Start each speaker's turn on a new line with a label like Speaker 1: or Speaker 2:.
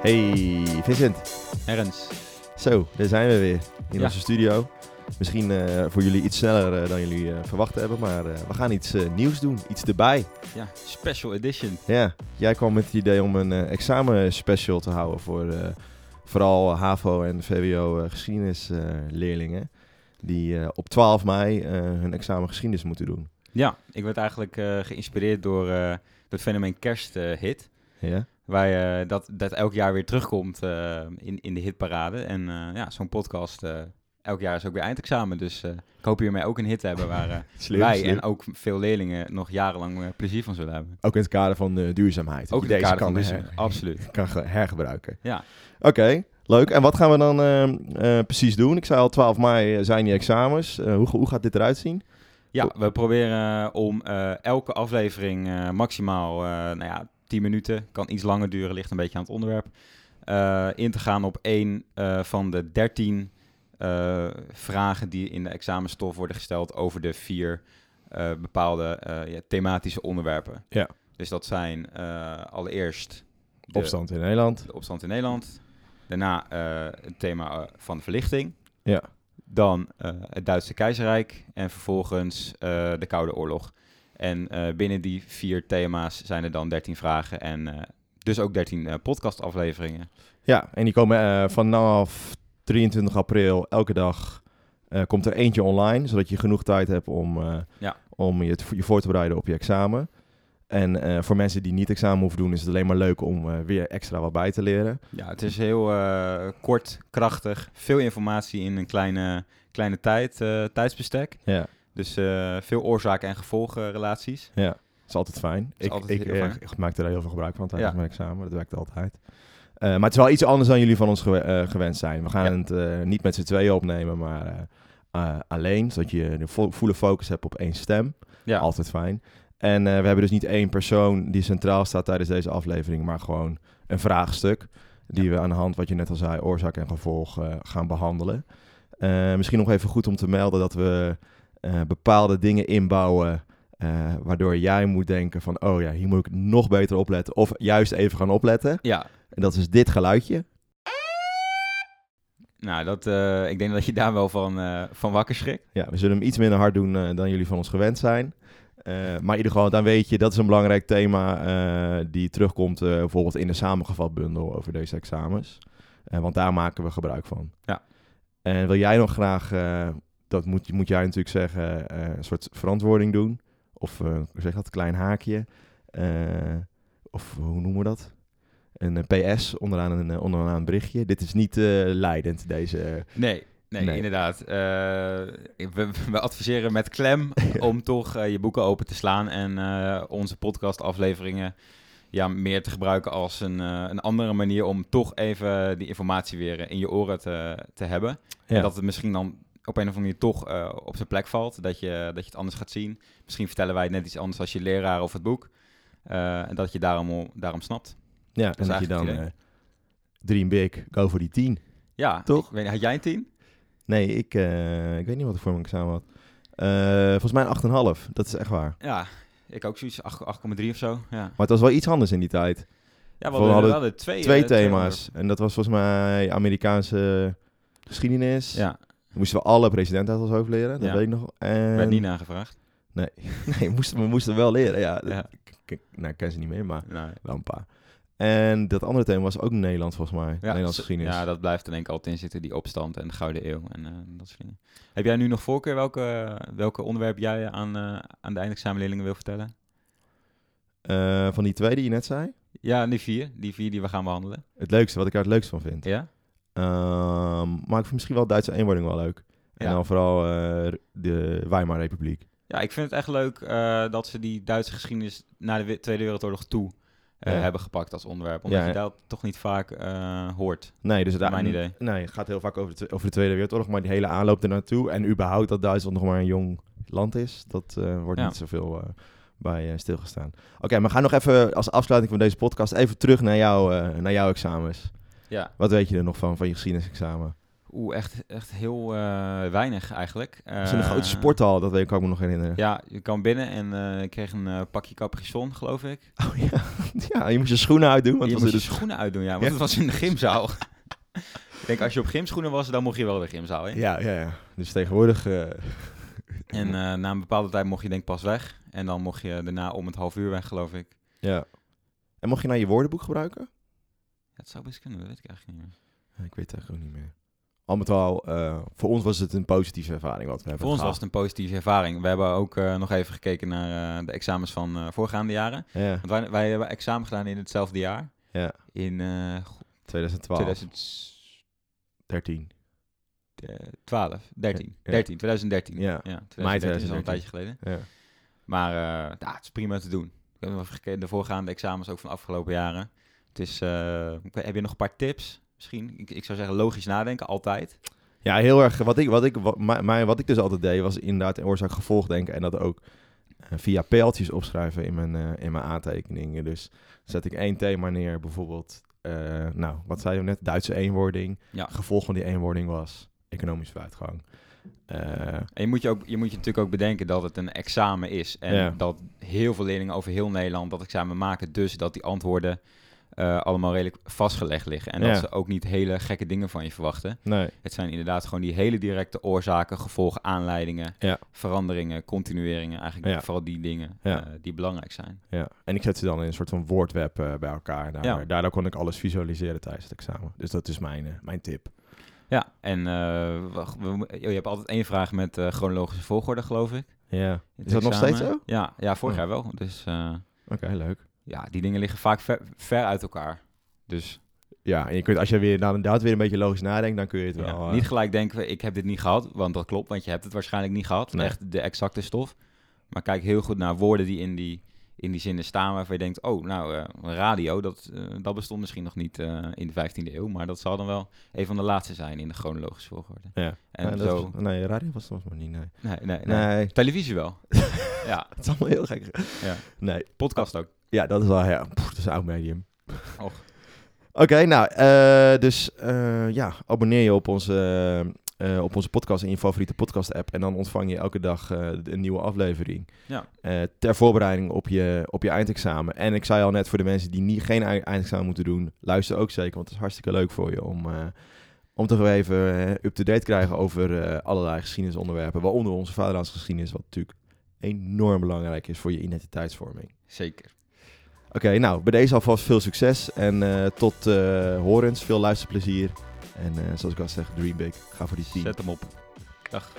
Speaker 1: Hey Vincent,
Speaker 2: Ernst.
Speaker 1: zo, daar zijn we weer in
Speaker 2: Ja.
Speaker 1: onze studio. Misschien eh, voor jullie iets sneller eh, dan jullie eh, verwacht hebben, maar eh, we gaan iets eh, nieuws doen, iets erbij.
Speaker 2: Ja, special edition.
Speaker 1: Ja, jij kwam met het idee om een eh, examenspecial te houden voor eh, vooral HAVO en VWO eh, geschiedenisleerlingen. die eh, op 12 mei eh, hun examen geschiedenis moeten doen.
Speaker 2: Ja, ik werd eigenlijk eh, geïnspireerd door, eh, door het fenomeen kersthit.
Speaker 1: Ja?
Speaker 2: waar je dat, dat elk jaar weer terugkomt eh, in, in de hitparade. En eh, ja, zo'n podcast, eh, elk jaar is ook weer eindexamen. Dus eh, ik hoop hiermee ook een hit te hebben waar eh,
Speaker 1: Slim,
Speaker 2: wij
Speaker 1: slim.
Speaker 2: en ook veel leerlingen nog jarenlang eh, plezier van zullen hebben.
Speaker 1: Ook in het kader van eh, duurzaamheid. dat
Speaker 2: Ook
Speaker 1: je
Speaker 2: in het kader van
Speaker 1: kan, dus, eh,
Speaker 2: deze.
Speaker 1: her-
Speaker 2: Absoluut.
Speaker 1: kan ge- hergebruiken.
Speaker 2: Ja.
Speaker 1: Oké, leuk. En wat gaan we dan eh, eh, precies doen? Ik zei al, 12 mei eh, zijn die examens. Eh, hoe, hoe gaat dit eruit zien?
Speaker 2: Ja, we proberen eh, om eh, elke aflevering eh, maximaal eh, nou ja, 10 minuten, kan iets langer duren, ligt een beetje aan het onderwerp, eh, in te gaan op één eh, van de 13 eh, vragen die in de examenstof worden gesteld over de vier eh, bepaalde eh, ja, thematische onderwerpen.
Speaker 1: Ja.
Speaker 2: Dus dat zijn eh, allereerst de
Speaker 1: Opstand in Nederland.
Speaker 2: de opstand in Nederland, daarna eh, het thema eh, van de verlichting.
Speaker 1: Ja.
Speaker 2: Dan eh, het Duitse keizerrijk en vervolgens eh, de Koude Oorlog. En eh, binnen die vier thema's zijn er dan 13 vragen en eh, dus ook 13 eh, podcastafleveringen.
Speaker 1: ja, en die komen eh, vanaf 23 april elke dag. eh, komt er eentje online, zodat je genoeg tijd hebt om, eh,
Speaker 2: Ja.
Speaker 1: om je, te- je voor te bereiden op je examen. En eh, voor mensen die niet examen hoeven doen, is het alleen maar leuk om eh, weer extra wat bij te leren.
Speaker 2: Ja, het is heel eh, kort, krachtig, veel informatie in een kleine, kleine tijd, eh, tijdsbestek.
Speaker 1: Ja.
Speaker 2: Dus eh, veel oorzaken en gevolgenrelaties.
Speaker 1: Dat is altijd fijn.
Speaker 2: is
Speaker 1: Ik,
Speaker 2: altijd
Speaker 1: ik,
Speaker 2: heel
Speaker 1: eh,
Speaker 2: fijn.
Speaker 1: ik maak er heel veel gebruik van tijdens
Speaker 2: Ja.
Speaker 1: mijn examen. Dat werkt altijd. Eh, maar het is wel iets anders dan jullie van ons gewe- eh, gewend zijn. We gaan
Speaker 2: Ja.
Speaker 1: het eh, niet met z'n tweeën opnemen, maar eh, eh, alleen. Zodat je de vo volle focus hebt op één stem.
Speaker 2: Ja.
Speaker 1: Altijd fijn. En eh, we hebben dus niet één persoon die centraal staat tijdens deze aflevering, maar gewoon een vraagstuk. Die we aan de hand, wat je net al zei, oorzaak en gevolg eh, gaan behandelen. Eh, misschien nog even goed om te melden dat we eh, bepaalde dingen inbouwen. eh, waardoor jij moet denken van, oh ja, hier moet ik nog beter opletten. Of juist even gaan opletten.
Speaker 2: Ja,
Speaker 1: En dat is dit geluidje.
Speaker 2: nou, dat, eh, ik denk dat je daar wel van, eh, van wakker schrikt.
Speaker 1: Ja, we zullen hem iets minder hard doen eh, dan jullie van ons gewend zijn. Eh, maar in ieder geval, dan weet je, dat is een belangrijk thema eh, die terugkomt eh, bijvoorbeeld in de samengevat bundel over deze examens. Eh, want daar maken we gebruik van.
Speaker 2: Ja.
Speaker 1: En wil jij nog graag, eh, dat moet, moet jij natuurlijk zeggen, eh, een soort verantwoording doen? Of eh, hoe zeg je dat, klein haakje? Eh, of hoe noemen we dat? Een eh, PS onderaan een, eh, onderaan een berichtje. Dit is niet eh, leidend, deze...
Speaker 2: Nee, nee,
Speaker 1: Nee.
Speaker 2: inderdaad. Eh, we, we adviseren met klem om toch eh, je boeken open te slaan en eh, onze podcastafleveringen ja, meer te gebruiken als een, eh, een andere manier om toch even die informatie weer eh, in je oren te, te hebben.
Speaker 1: Ja.
Speaker 2: En dat het misschien dan op een of andere manier toch eh, op zijn plek valt, dat je, dat je het anders gaat zien. Misschien vertellen wij het net iets anders als je leraar of het boek. Eh, en dat je daarom, daarom snapt.
Speaker 1: Ja, en
Speaker 2: is
Speaker 1: dat je dan
Speaker 2: eigenlijk het
Speaker 1: eh dream big, go voor die 10.
Speaker 2: Ja,
Speaker 1: Toch?
Speaker 2: ik weet niet, had jij een tien?
Speaker 1: Nee, ik, eh, ik weet niet wat ik voor mijn examen had. Eh, volgens mij een 8,5. Dat is echt waar.
Speaker 2: Ja, ik ook zoiets, 8, 8,3 of zo. Ja.
Speaker 1: Maar het was wel iets anders in die tijd.
Speaker 2: Ja, we
Speaker 1: Voor-
Speaker 2: hadden,
Speaker 1: hadden
Speaker 2: we hadden twee, eh,
Speaker 1: Twee
Speaker 2: onderwerpen.
Speaker 1: thema's. En dat was volgens mij Amerikaanse geschiedenis.
Speaker 2: Ja,
Speaker 1: We Moesten we alle presidenten uit ons hoofd leren. Dat
Speaker 2: Ja.
Speaker 1: weet ik nog. En...
Speaker 2: werd niet nagevraagd.
Speaker 1: Nee, nee moesten, we moesten wel leren. Ja, dat-
Speaker 2: Ja.
Speaker 1: ik- nou, ik ken ze niet meer, maar
Speaker 2: Nee.
Speaker 1: wel een paar. En dat andere thema was ook Nederland, volgens mij. Nederlandse
Speaker 2: s-
Speaker 1: geschiedenis.
Speaker 2: Ja, dat blijft er denk ik altijd in zitten, die opstand en de Gouden Eeuw en eh, dat soort dingen. Heb jij nu nog voorkeur welke, welke onderwerp jij aan, eh, aan de eindexamenleerlingen wil vertellen?
Speaker 1: Eh, van die twee die je net zei.
Speaker 2: Ja, die vier, die vier die we gaan behandelen.
Speaker 1: Het leukste, wat ik daar het leukst van vind.
Speaker 2: Ja?
Speaker 1: Ehm, maar ik vind misschien wel Duitse eenwording wel leuk. En
Speaker 2: Ja.
Speaker 1: dan vooral eh, de Weimar Republiek.
Speaker 2: Ja, ik vind het echt leuk eh, dat ze die Duitse geschiedenis na de we- Tweede Wereldoorlog toe eh,
Speaker 1: Ja.
Speaker 2: hebben gepakt als onderwerp. Omdat
Speaker 1: Ja,
Speaker 2: je
Speaker 1: ja.
Speaker 2: dat toch niet vaak eh, hoort.
Speaker 1: Nee, dus het
Speaker 2: Mijn idee.
Speaker 1: Nee, het gaat heel vaak over de, twe- over de Tweede Wereldoorlog, maar die hele aanloop ernaartoe. En überhaupt dat Duitsland nog maar een jong land is, dat eh, wordt
Speaker 2: Ja.
Speaker 1: niet zoveel eh, bij eh, stilgestaan. Oké, maar ga nog even als afsluiting van deze podcast even terug naar, jou, eh, naar jouw examens.
Speaker 2: Ja.
Speaker 1: Wat weet je er nog van, van je geschiedenisexamen?
Speaker 2: Oeh, echt, echt heel eh, weinig eigenlijk.
Speaker 1: Het is een
Speaker 2: Eh,
Speaker 1: grote sporthal, dat weet ik, kan ik me nog herinneren.
Speaker 2: Ja, je kwam binnen en eh, ik kreeg een eh, pakje capricon, geloof ik.
Speaker 1: Oh, ja. ja, je moest je schoenen uitdoen, want
Speaker 2: je
Speaker 1: het
Speaker 2: moest
Speaker 1: was
Speaker 2: je
Speaker 1: dus...
Speaker 2: schoenen uitdoen, ja, want
Speaker 1: Ja.
Speaker 2: het was in de gymzaal. ik denk, als je op gymschoenen was, dan mocht je wel de gymzaal in.
Speaker 1: Ja, ja, ja. Dus tegenwoordig... eh,
Speaker 2: En eh, na een bepaalde tijd mocht je denk ik pas weg. En dan mocht je daarna om het half uur weg, geloof ik.
Speaker 1: ja. En mocht je nou je woordenboek gebruiken?
Speaker 2: Dat zou best kunnen, dat weet ik eigenlijk niet meer.
Speaker 1: Ja, Ik weet het eigenlijk ook niet meer. Al met al, eh, voor ons was het een positieve ervaring wat we hebben
Speaker 2: Voor ons was
Speaker 1: gehad.
Speaker 2: het een positieve ervaring. We hebben ook eh, nog even gekeken naar eh, de examens van eh, voorgaande jaren.
Speaker 1: Ja,
Speaker 2: Want wij, wij hebben examen gedaan in hetzelfde jaar.
Speaker 1: Ja.
Speaker 2: In eh,
Speaker 1: 2012,
Speaker 2: 2012,
Speaker 1: 13.
Speaker 2: eh, 13,
Speaker 1: Ja.
Speaker 2: 13, 2013.
Speaker 1: Ja.
Speaker 2: Mei 2013 is
Speaker 1: 2013.
Speaker 2: al een tijdje geleden.
Speaker 1: Ja.
Speaker 2: Maar eh, ja, het is prima te doen. Ik heb nog even gekeken, de voorgaande examens ook van de afgelopen jaren. Het is, eh, ik weet- heb je nog een paar tips? Misschien, ik, ik zou zeggen logisch nadenken, altijd.
Speaker 1: Ja, heel erg. Wat ik, wat, ik, wat, mij, mij- wat ik dus altijd deed, was inderdaad in oorzaak gevolg denken. En dat ook eh, via pijltjes opschrijven in mijn, eh, in mijn aantekeningen. Dus zet ik één thema neer, bijvoorbeeld, eh, nou, wat zei je net? Duitse eenwording.
Speaker 2: Ja.
Speaker 1: Gevolg van die eenwording was economisch vooruitgang. Eh,
Speaker 2: En je moet je, ook, je moet je natuurlijk ook bedenken dat het een examen is. En
Speaker 1: Ja.
Speaker 2: dat heel veel leerlingen over heel Nederland dat examen maken. Dus dat die antwoorden eh, allemaal redelijk vastgelegd liggen. En
Speaker 1: Ja.
Speaker 2: dat ze ook niet hele gekke dingen van je verwachten.
Speaker 1: nee,
Speaker 2: Het zijn inderdaad gewoon die hele directe oorzaken, gevolgen, aanleidingen,
Speaker 1: Ja.
Speaker 2: veranderingen, continueringen. Eigenlijk
Speaker 1: Ja.
Speaker 2: vooral die dingen
Speaker 1: Ja.
Speaker 2: eh, die belangrijk zijn.
Speaker 1: ja. En ik zet ze dan in een soort van woordweb eh, bij elkaar. En Daar,
Speaker 2: Ja.
Speaker 1: Daardoor kon ik alles visualiseren tijdens het examen. Dus dat is mijn, eh, mijn tip.
Speaker 2: Ja, en eh, wacht, we mo- je hebt altijd één vraag met eh, chronologische volgorde, geloof ik.
Speaker 1: Ja.
Speaker 2: in het
Speaker 1: Is dat nog
Speaker 2: examen.
Speaker 1: steeds zo?
Speaker 2: Ja, ja vorig
Speaker 1: Oh.
Speaker 2: jaar wel. Dus eh,
Speaker 1: Oké, leuk.
Speaker 2: ja, die dingen liggen vaak ver, ver uit elkaar. Dus
Speaker 1: Ja, en je kunt, als je weer, nou, inderdaad weer een beetje logisch nadenkt, dan kun je het
Speaker 2: ja,
Speaker 1: wel... eh,
Speaker 2: niet gelijk denken, ik heb dit niet gehad, want dat klopt, want je hebt het waarschijnlijk niet gehad.
Speaker 1: Nee.
Speaker 2: Echt de exacte stof. Maar kijk heel goed naar woorden die in die, in die zinnen staan, waarvan je denkt, oh, nou, eh, radio, dat, eh, dat bestond misschien nog niet eh, in de 15e eeuw, maar dat zal dan wel een van de laatste zijn in de chronologische volgorde.
Speaker 1: Ja.
Speaker 2: En
Speaker 1: nee,
Speaker 2: zo,
Speaker 1: dat, nee, radio was het maar niet, nee.
Speaker 2: nee, nee, nee.
Speaker 1: Nee,
Speaker 2: Televisie wel. ja,
Speaker 1: het is allemaal heel gek.
Speaker 2: Ja.
Speaker 1: Nee,
Speaker 2: podcast ook.
Speaker 1: ja, dat is wel, ja, pff, dat is een oud medium.
Speaker 2: Och.
Speaker 1: Oké, nou, eh, dus eh, ja, abonneer je op onze, eh, eh, op onze podcast in je favoriete podcast-app. En dan ontvang je elke dag eh, een nieuwe aflevering.
Speaker 2: Ja.
Speaker 1: Eh, ter voorbereiding op je, op je eindexamen. En ik zei al net voor de mensen die niet, geen ei- eindexamen moeten doen, luister ook zeker. Want het is hartstikke leuk voor je om, eh, om toch weer even eh, up-to-date te krijgen over eh, allerlei geschiedenisonderwerpen. Waaronder onze vaderlandsgeschiedenis, wat natuurlijk enorm belangrijk is voor je identiteitsvorming.
Speaker 2: Zeker.
Speaker 1: Oké, nou, bij deze alvast veel succes en eh, tot eh, horens. Veel luisterplezier. En eh, zoals ik al zeg, dream big. Ga voor die team.
Speaker 2: Zet hem op. Dag.